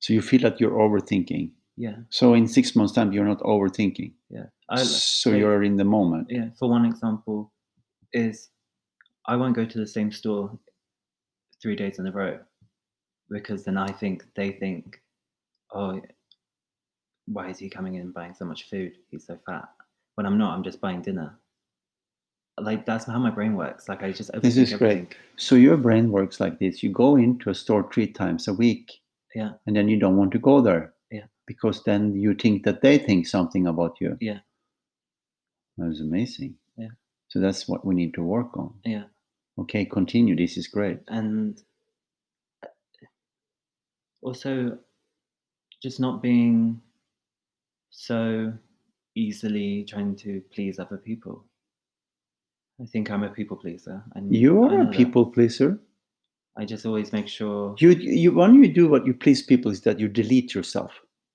Speaker 1: So you feel that you're overthinking.
Speaker 2: Yeah.
Speaker 1: So in six months' time, you're not overthinking.
Speaker 2: I,
Speaker 1: so
Speaker 2: like-
Speaker 1: you're in the moment.
Speaker 2: yeah, for one example, is I won't go to the same store three days in a row because then I think they think, oh, why is he coming in and buying so much food? He's so fat. When I'm not, I'm just buying dinner. Like that's how my brain works. Like I just
Speaker 1: This
Speaker 2: overthink
Speaker 1: is great.
Speaker 2: everything.
Speaker 1: So your brain works like this: you go into a store three times a week,
Speaker 2: Yeah.
Speaker 1: and then you don't want to go there,
Speaker 2: Yeah.
Speaker 1: because then you think that they think something about you.
Speaker 2: Yeah.
Speaker 1: that was amazing.
Speaker 2: Yeah.
Speaker 1: so that's what we need to work on.
Speaker 2: Yeah.
Speaker 1: Okay, continue. This is great.
Speaker 2: and uh, also just not being so easily trying to please other people. I think I'm a people pleaser. And
Speaker 1: You
Speaker 2: I
Speaker 1: are
Speaker 2: know
Speaker 1: a
Speaker 2: that.
Speaker 1: people pleaser.
Speaker 2: I just always make sure.
Speaker 1: You, you when you do what you please people is that you delete yourself.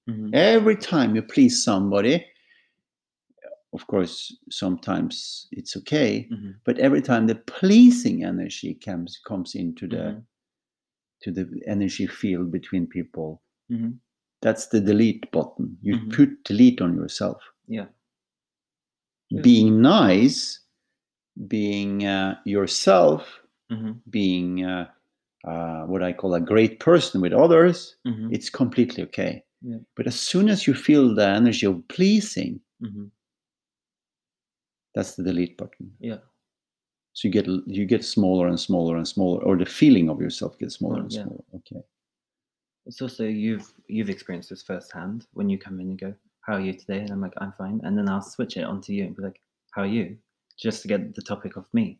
Speaker 2: Mhm.
Speaker 1: every time you please somebody of course sometimes it's okay
Speaker 2: Mhm.
Speaker 1: but every time the pleasing energy comes comes into the
Speaker 2: Mhm.
Speaker 1: to the energy field between people
Speaker 2: Mhm.
Speaker 1: that's the delete button you
Speaker 2: Mhm.
Speaker 1: put delete on yourself
Speaker 2: Yeah. Yeah.
Speaker 1: being nice being uh, yourself
Speaker 2: Mhm.
Speaker 1: being uh, uh, what i call a great person with others
Speaker 2: Mhm.
Speaker 1: it's completely okay
Speaker 2: Yeah.
Speaker 1: but as soon as you feel the energy of pleasing
Speaker 2: Mhm.
Speaker 1: that's the delete button
Speaker 2: Yeah.
Speaker 1: so you get you get smaller and smaller and smaller or the feeling of yourself gets smaller
Speaker 2: Mm,
Speaker 1: and
Speaker 2: yeah.
Speaker 1: smaller okay
Speaker 2: It's also you've you've experienced this firsthand when you come in and go, "How are you today?" And I'm like, "I'm fine," and then I'll switch it onto you and be like, "How are you?" Just to get the topic of me,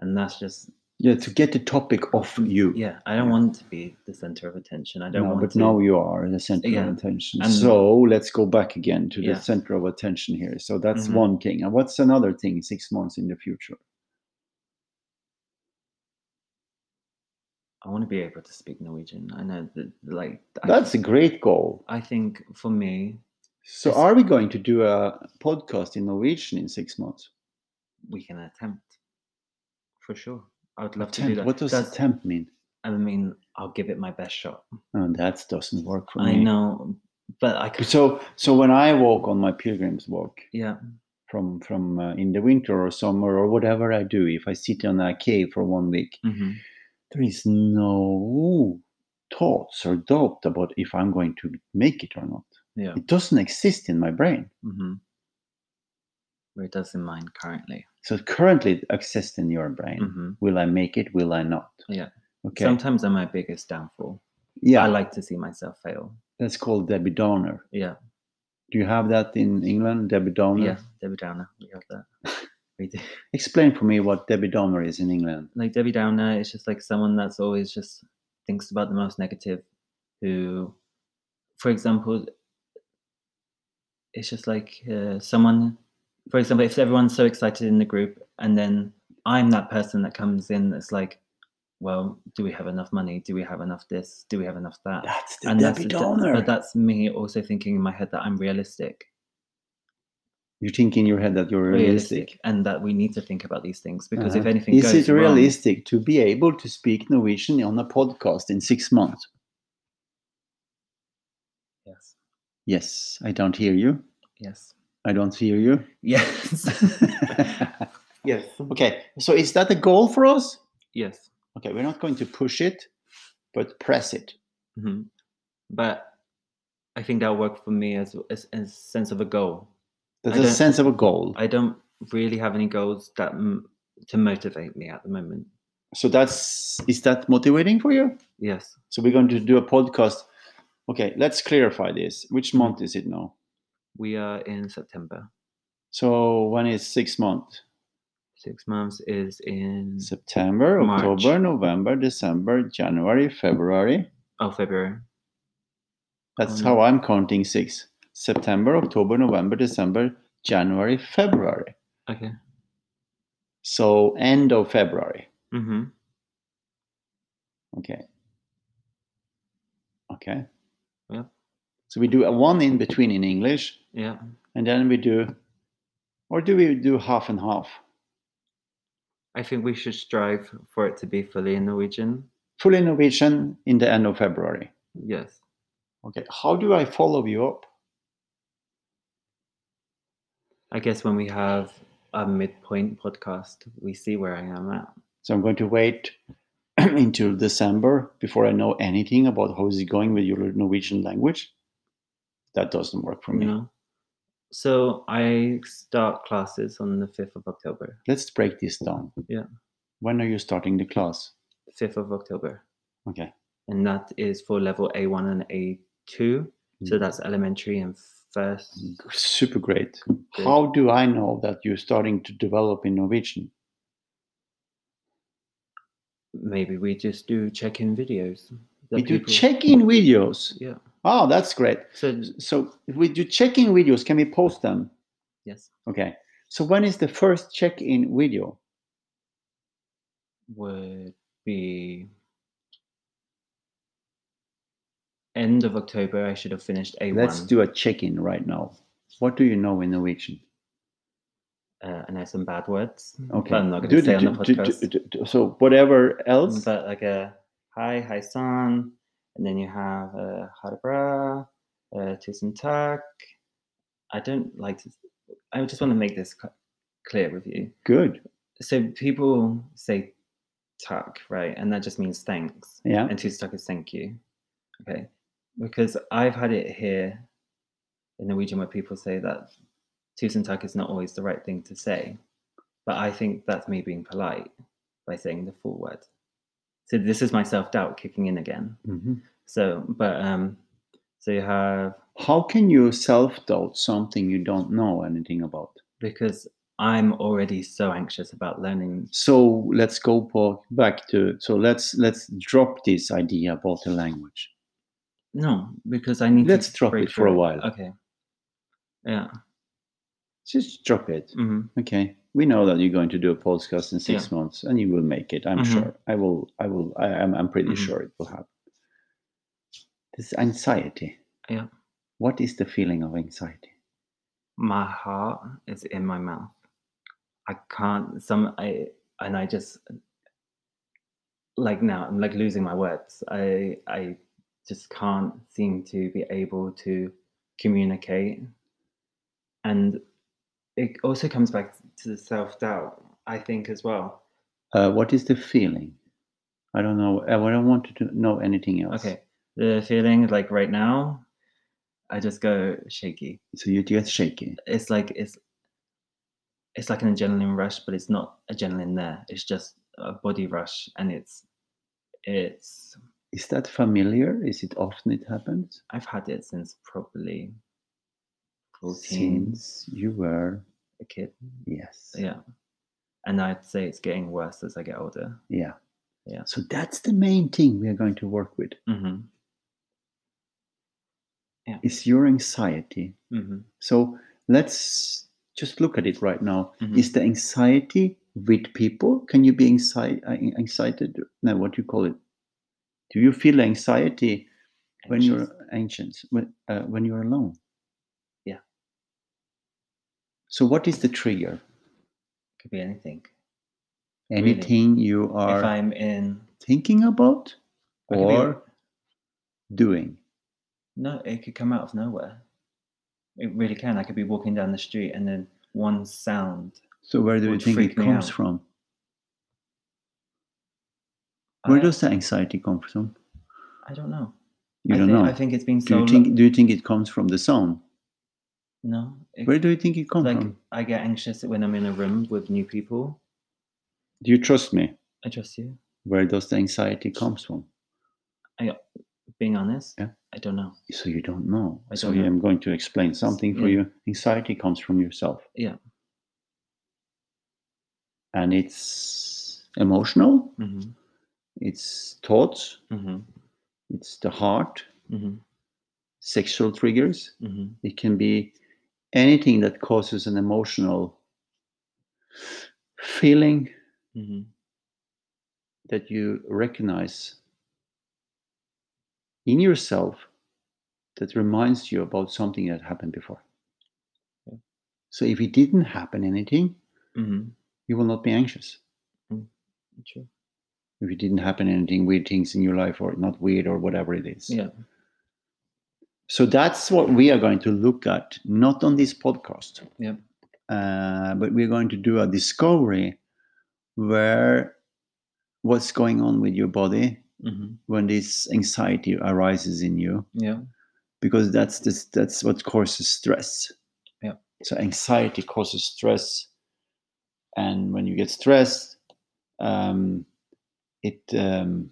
Speaker 2: and that's just
Speaker 1: Yeah, to get the topic off you.
Speaker 2: Mm-hmm. Yeah, I don't want to be the center of attention. I don't
Speaker 1: No,
Speaker 2: want
Speaker 1: but
Speaker 2: to.
Speaker 1: now you are the center
Speaker 2: Yeah.
Speaker 1: of attention.
Speaker 2: And-
Speaker 1: so let's go back again to
Speaker 2: Yeah.
Speaker 1: the center of attention here. So that's
Speaker 2: Mhm.
Speaker 1: one thing. And what's another thing six months in the future?
Speaker 2: I want to be able to speak Norwegian. I know that, like, I,
Speaker 1: That's a great goal.
Speaker 2: I think for me,
Speaker 1: So
Speaker 2: Yes.
Speaker 1: are we going to do a podcast in Norwegian in six months?
Speaker 2: we can attempt for sure. I would love to do
Speaker 1: Attempt.
Speaker 2: that.
Speaker 1: What does
Speaker 2: That's-
Speaker 1: attempt mean?
Speaker 2: I mean, I'll give it my best shot.
Speaker 1: Oh, that doesn't work for
Speaker 2: I
Speaker 1: me.
Speaker 2: know, but I could.
Speaker 1: So, so when I walk on my pilgrim's walk
Speaker 2: Yeah,
Speaker 1: from from uh, in the winter or summer or whatever I do, if I sit on a cave for one week,
Speaker 2: hmm
Speaker 1: there is no thoughts or doubt about if I'm going to make it or not.
Speaker 2: yeah,
Speaker 1: It doesn't exist in my brain.
Speaker 2: hmm where it does in mine currently.
Speaker 1: So currently it exists in your brain.
Speaker 2: hmm
Speaker 1: Will I make it? Will I not?
Speaker 2: Yeah.
Speaker 1: Okay.
Speaker 2: Sometimes I'm my biggest downfall.
Speaker 1: yeah.
Speaker 2: I like to see myself fail.
Speaker 1: That's called Debbie Downer.
Speaker 2: Yeah,
Speaker 1: Do you have that in England, Debbie Downer?
Speaker 2: yeah, Debbie Downer. We have that. we do.
Speaker 1: Explain for me what Debbie Downer is in England.
Speaker 2: like Debbie Downer is just like someone that's always just thinks about the most negative. Who, for example, it's just like uh, someone. For example, if everyone's so excited in the group, and then I'm that person that comes in that's like, well, do we have enough money? Do we have enough this? Do we have enough that?
Speaker 1: That's the
Speaker 2: and that's,
Speaker 1: Debbie
Speaker 2: the-
Speaker 1: Downer.
Speaker 2: but that's me also thinking in my head that I'm realistic,
Speaker 1: you think in your head that you're realistic.
Speaker 2: and that we need to think about these things because if
Speaker 1: Uh-huh.
Speaker 2: anything
Speaker 1: is
Speaker 2: goes
Speaker 1: it
Speaker 2: wrong-
Speaker 1: realistic to be able to speak Norwegian on a podcast in six months?
Speaker 2: yes,
Speaker 1: Yes, I don't hear you.
Speaker 2: yes,
Speaker 1: I don't hear you.
Speaker 2: yes. Yes.
Speaker 1: okay, so is that a goal for us?
Speaker 2: Yes.
Speaker 1: Okay, we're not going to push it, but press it.
Speaker 2: hmm But I think that worked for me as as as a sense of a goal.
Speaker 1: That's
Speaker 2: I
Speaker 1: a
Speaker 2: don't-
Speaker 1: sense of a goal.
Speaker 2: I don't really have any goals that m- to motivate me at the moment.
Speaker 1: so that's is that motivating for you?
Speaker 2: Yes.
Speaker 1: So we're going to do a podcast. Okay, let's clarify this. Which
Speaker 2: Mm-hmm.
Speaker 1: month is it now?
Speaker 2: We are in September.
Speaker 1: So when is six months?
Speaker 2: Six months is in
Speaker 1: September,
Speaker 2: Mm. March.
Speaker 1: October, November, December, January, February.
Speaker 2: oh February.
Speaker 1: That's
Speaker 2: Um,
Speaker 1: how I'm counting six. September, October, November, December, January, February.
Speaker 2: Okay.
Speaker 1: So end of February.
Speaker 2: Mm-hmm.
Speaker 1: Okay. Okay.
Speaker 2: Yeah.
Speaker 1: So we do a one in between in English,
Speaker 2: Yeah.
Speaker 1: and then we do, or do we do half and half?
Speaker 2: I think we should strive for it to be fully in Norwegian.
Speaker 1: Full innovation in the end of February.
Speaker 2: Yes.
Speaker 1: Okay. How do I follow you up?
Speaker 2: I guess when we have a midpoint podcast, we see where I am at.
Speaker 1: So I'm going to wait until December before I know anything about how is it going with your Norwegian language. That doesn't work for me.
Speaker 2: No. So I start classes on the 5th of October.
Speaker 1: Let's break this down.
Speaker 2: Yeah.
Speaker 1: When are you starting the class?
Speaker 2: 5th of October.
Speaker 1: Okay.
Speaker 2: And that is for level A1 and A2. So
Speaker 1: Mm.
Speaker 2: that's elementary and first.
Speaker 1: Super great.
Speaker 2: Good.
Speaker 1: How do I know that you're starting to develop in Norwegian?
Speaker 2: Maybe we just do check in videos. that
Speaker 1: We do
Speaker 2: people-
Speaker 1: check-in videos.
Speaker 2: Yeah.
Speaker 1: Oh, that's great.
Speaker 2: So,
Speaker 1: So if we do check-in videos, can we post them?
Speaker 2: yes.
Speaker 1: Okay. So when is the first check-in video?
Speaker 2: Would be end of October. I should have finished A1.
Speaker 1: Let's do a check-in right now. What do you know in Norwegian?
Speaker 2: Uh, I know some bad words.
Speaker 1: Okay.
Speaker 2: But I'm not
Speaker 1: Do-
Speaker 2: going to say on the
Speaker 1: do- do- do-
Speaker 2: podcast.
Speaker 1: do- do- so whatever else.
Speaker 2: but like a hi, hi san, and then you have uh, harabra, uh, tusen tak. I don't like to. I just want to make this cl- clear with you.
Speaker 1: Good.
Speaker 2: So people say tak, right, and that just means thanks,
Speaker 1: Yeah.
Speaker 2: and tusen tak is thank you. Okay, because I've had it here in Norwegian where people say that tusen tak is not always the right thing to say, but I think that's me being polite by saying the full word. So this is my self doubt kicking in again.
Speaker 1: Mhm.
Speaker 2: So, but um, so you have
Speaker 1: How can you self doubt something you don't know anything about?
Speaker 2: because I'm already so anxious about learning.
Speaker 1: So let's go po- back to so let's let's drop this idea about the language.
Speaker 2: No, because I need
Speaker 1: Let's
Speaker 2: to
Speaker 1: drop
Speaker 2: break
Speaker 1: it for a
Speaker 2: through
Speaker 1: while.
Speaker 2: Okay. Yeah.
Speaker 1: Just drop it.
Speaker 2: hmm
Speaker 1: Okay. We know that you're going to do a podcast in six months, and you will make it. I'm
Speaker 2: Mhm.
Speaker 1: sure. I will. I will. I, I'm. I'm pretty
Speaker 2: Mhm.
Speaker 1: sure it will happen. This anxiety.
Speaker 2: Yeah.
Speaker 1: What is the feeling of anxiety?
Speaker 2: My heart is in my mouth. I can't. Some I and I just like now. I'm like losing my words. I I just can't seem to be able to communicate, and it also comes back to the self doubt. I think as well.
Speaker 1: Uh, what is the feeling? I don't know. I don't want to know anything else.
Speaker 2: Okay. The feeling like right now, I just go shaky.
Speaker 1: So you get shaky.
Speaker 2: It's like it's it's like an adrenaline rush, but it's not adrenaline there. It's just a body rush, and it's it's.
Speaker 1: Is that familiar? Is it often it happens?
Speaker 2: I've had it since probably fourteen,
Speaker 1: Since you were
Speaker 2: a kid.
Speaker 1: yes.
Speaker 2: Yeah, and I'd say it's getting worse as I get older.
Speaker 1: Yeah.
Speaker 2: Yeah.
Speaker 1: So that's the main thing we are going to work with
Speaker 2: hmm
Speaker 1: is your anxiety.
Speaker 2: hmm
Speaker 1: So let's just look at it right now.
Speaker 2: Mhm.
Speaker 1: Is the anxiety with people? Can you be anxi- uh, excited? No, what do you call it? Do you feel anxiety when you're anxious, when, uh, when you're alone?
Speaker 2: Yeah.
Speaker 1: So what is the trigger?
Speaker 2: could be anything. Really.
Speaker 1: Anything you are
Speaker 2: if I'm in
Speaker 1: thinking about
Speaker 2: I could be-
Speaker 1: or doing?
Speaker 2: No, it could come out of nowhere. It really can. I could be walking down the street and then one sound.
Speaker 1: So where do you
Speaker 2: Would
Speaker 1: think it
Speaker 2: freak me
Speaker 1: comes
Speaker 2: out.
Speaker 1: from? Where
Speaker 2: I,
Speaker 1: does the anxiety come from?
Speaker 2: I don't know.
Speaker 1: You
Speaker 2: I
Speaker 1: don't
Speaker 2: think,
Speaker 1: know.
Speaker 2: I think it's been
Speaker 1: do
Speaker 2: so.
Speaker 1: you
Speaker 2: lo-
Speaker 1: think? Do you think it comes from the sound?
Speaker 2: no. It,
Speaker 1: Where do you think it comes
Speaker 2: like
Speaker 1: from?
Speaker 2: I get anxious when I'm in a room with new people.
Speaker 1: Do you trust me?
Speaker 2: I trust you.
Speaker 1: Where does the anxiety comes from?
Speaker 2: Being honest,
Speaker 1: Yeah.
Speaker 2: I don't know.
Speaker 1: So you don't know.
Speaker 2: I
Speaker 1: so
Speaker 2: don't know.
Speaker 1: I'm going to explain something for
Speaker 2: yeah.
Speaker 1: you. Anxiety comes from yourself.
Speaker 2: Yeah.
Speaker 1: And it's emotional.
Speaker 2: hmm
Speaker 1: It's thoughts.
Speaker 2: hmm
Speaker 1: It's the heart.
Speaker 2: hmm
Speaker 1: Sexual triggers.
Speaker 2: hmm
Speaker 1: It can be anything that causes an emotional feeling
Speaker 2: hmm
Speaker 1: that you recognize in yourself that reminds you about something that happened before.
Speaker 2: Yeah.
Speaker 1: So if it didn't happen anything,
Speaker 2: hmm
Speaker 1: you will not be anxious.
Speaker 2: True.
Speaker 1: If it didn't happen anything, weird things in your life or not weird or whatever it is.
Speaker 2: Yeah.
Speaker 1: So that's what we are going to look at, not on this podcast.
Speaker 2: Yeah.
Speaker 1: Uh, but we're going to do a discovery where what's going on with your body
Speaker 2: hmm
Speaker 1: when this anxiety arises in you,
Speaker 2: Yeah.
Speaker 1: because that's this, that's what causes stress.
Speaker 2: Yeah.
Speaker 1: So anxiety causes stress, and when you get stressed, um, it um,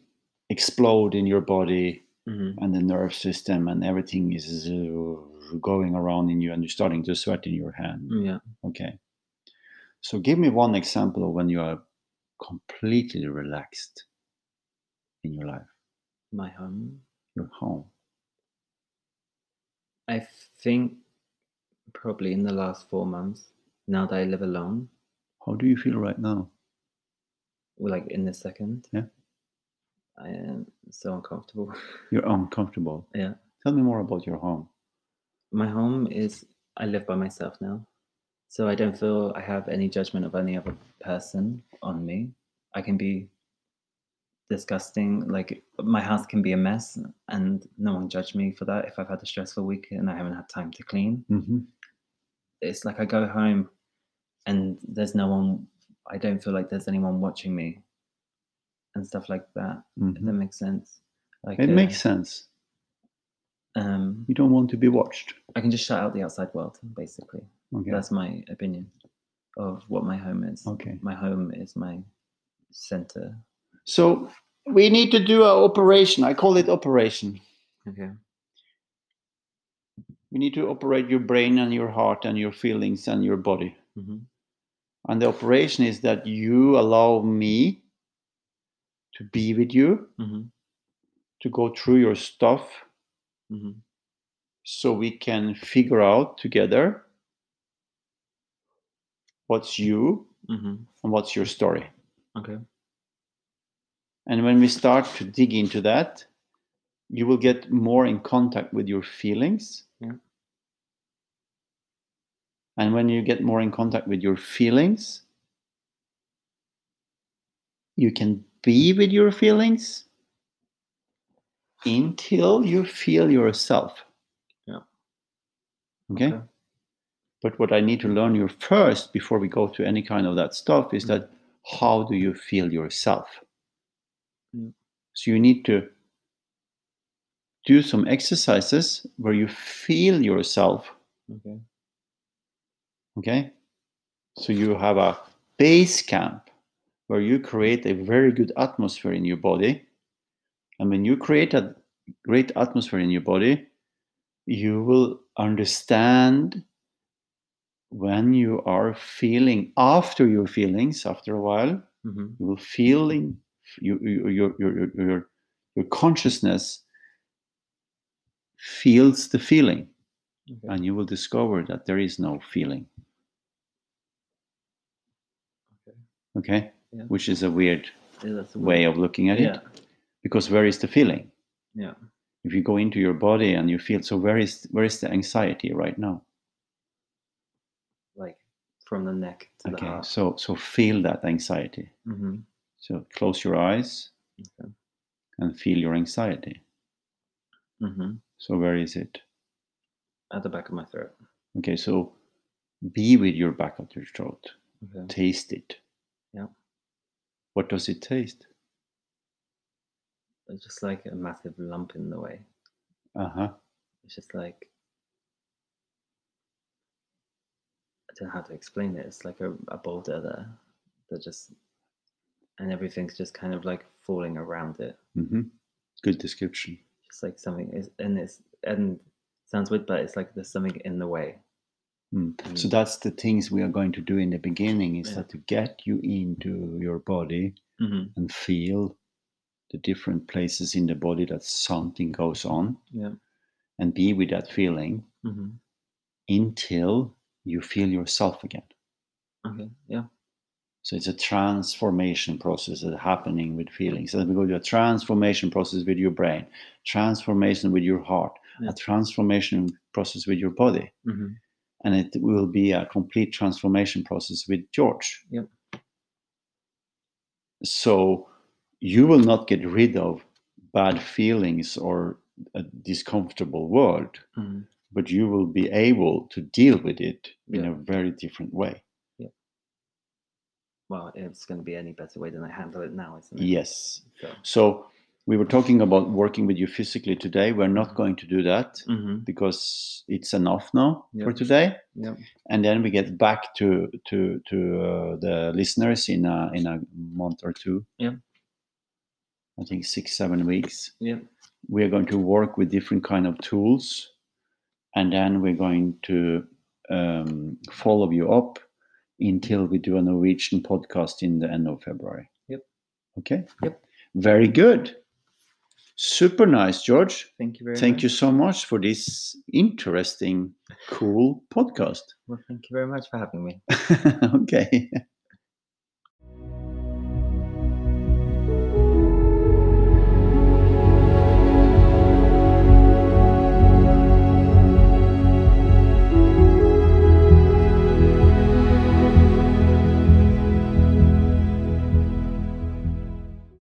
Speaker 1: explode in your body
Speaker 2: hmm
Speaker 1: and the nerve system and everything is uh, going around in you and you're starting to sweat in your hand
Speaker 2: Yeah.
Speaker 1: okay so give me one example of when you are completely relaxed in your life
Speaker 2: My home.
Speaker 1: your home
Speaker 2: I think probably in the last four months, now that I live alone,
Speaker 1: how do you feel right now
Speaker 2: Well, like in this second.
Speaker 1: Yeah.
Speaker 2: I am so uncomfortable.
Speaker 1: you're uncomfortable
Speaker 2: Yeah.
Speaker 1: tell me more about your home
Speaker 2: My home is, I live by myself now. So I don't feel I have any judgment of any other person on me. I can be disgusting. Like my house can be a mess and no one judge me for that if I've had a stressful week and I haven't had time to clean.
Speaker 1: mm-hmm.
Speaker 2: It's like I go home and there's no one, I don't feel like there's anyone watching me and stuff like that. If that makes sense. Like
Speaker 1: mm-hmm. it
Speaker 2: uh,
Speaker 1: makes sense
Speaker 2: um
Speaker 1: you don't want to be watched
Speaker 2: I can just shut out the outside world, basically.
Speaker 1: okay
Speaker 2: That's my opinion of what my home is.
Speaker 1: okay
Speaker 2: My home is my center.
Speaker 1: so we need to do an operation i call it operation
Speaker 2: Okay.
Speaker 1: we need to operate your brain and your heart and your feelings and your body
Speaker 2: hmm
Speaker 1: And the operation is that you allow me to be with you,
Speaker 2: Mhm.
Speaker 1: to go through your stuff
Speaker 2: Mhm.
Speaker 1: so we can figure out together what's you
Speaker 2: Mhm.
Speaker 1: and what's your story.
Speaker 2: Okay.
Speaker 1: And when we start to dig into that, you will get more in contact with your feelings.
Speaker 2: Yeah.
Speaker 1: And when you get more in contact with your feelings, you can be with your feelings until you feel yourself.
Speaker 2: Yeah.
Speaker 1: Okay?
Speaker 2: Okay.
Speaker 1: But what I need to learn you first before we go to any kind of that stuff is that how do you feel yourself? So you need to do some exercises where you feel yourself.
Speaker 2: Okay.
Speaker 1: Okay. So you have a base camp where you create a very good atmosphere in your body. And when you create a great atmosphere in your body, you will understand when you are feeling after your feelings after a while
Speaker 2: Mhm.
Speaker 1: you will feeling you, you, your, your, your, your, your consciousness feels the feeling
Speaker 2: Okay.
Speaker 1: and you will discover that there is no feeling
Speaker 2: Okay.
Speaker 1: okay
Speaker 2: Yeah.
Speaker 1: which is a weird
Speaker 2: Yeah, that's the
Speaker 1: way of looking at
Speaker 2: Yeah.
Speaker 1: it because where is the feeling
Speaker 2: Yeah.
Speaker 1: if you go into your body and you feel so where is where is the anxiety right now
Speaker 2: Like from the neck to the
Speaker 1: okay
Speaker 2: heart.
Speaker 1: so so feel that anxiety
Speaker 2: Mm-hmm.
Speaker 1: so close your eyes
Speaker 2: Okay.
Speaker 1: and feel your anxiety
Speaker 2: Mm-hmm.
Speaker 1: so where is it
Speaker 2: At the back of my throat.
Speaker 1: okay so be with your back of your throat
Speaker 2: Okay.
Speaker 1: taste it.
Speaker 2: Yeah.
Speaker 1: What does it taste?
Speaker 2: It's just like a massive lump in the way.
Speaker 1: Uh huh.
Speaker 2: It's just like I don't know how to explain it. It's like a, a boulder there that just and everything's just kind of like falling around it.
Speaker 1: hmm Good description.
Speaker 2: Just like something is and it's and sounds weird, but it's like there's something in the way.
Speaker 1: Mm.
Speaker 2: Mm.
Speaker 1: So that's the things we are going to do in the beginning is
Speaker 2: Yeah.
Speaker 1: that to get you into your body
Speaker 2: Mm-hmm.
Speaker 1: and feel the different places in the body that something goes on
Speaker 2: Yeah.
Speaker 1: and be with that feeling
Speaker 2: Mm-hmm.
Speaker 1: until you feel yourself again.
Speaker 2: Okay. Yeah.
Speaker 1: So it's a transformation process that's happening with feelings. And we go to a transformation process with your brain, transformation with your heart,
Speaker 2: Yeah.
Speaker 1: a transformation process with your body.
Speaker 2: Mm-hmm.
Speaker 1: And it will be a complete transformation process with George.
Speaker 2: Yep.
Speaker 1: So you will not get rid of bad feelings or a discomfortable world,
Speaker 2: Mm-hmm.
Speaker 1: but you will be able to deal with it in
Speaker 2: Yeah.
Speaker 1: a very different way.
Speaker 2: Well, it's going to be any better way than I handle it now, isn't it?
Speaker 1: Yes.
Speaker 2: So.
Speaker 1: So we were talking about working with you physically today. We're not going to do that
Speaker 2: Mm-hmm.
Speaker 1: because it's enough now for
Speaker 2: Yep.
Speaker 1: today.
Speaker 2: Yep.
Speaker 1: And then we get back to to to uh, the listeners in a in a month or two.
Speaker 2: Yep.
Speaker 1: I think six seven weeks.
Speaker 2: Yep.
Speaker 1: We are going to work with different kind of tools, and then we're going to um, follow you up until we do a Norwegian podcast in the end of February.
Speaker 2: Yep.
Speaker 1: Okay.
Speaker 2: Yep.
Speaker 1: Very good. Super nice, George.
Speaker 2: Thank you very much.
Speaker 1: Thank you so much for this interesting, cool podcast.
Speaker 2: Well, thank you very much for having me.
Speaker 1: okay.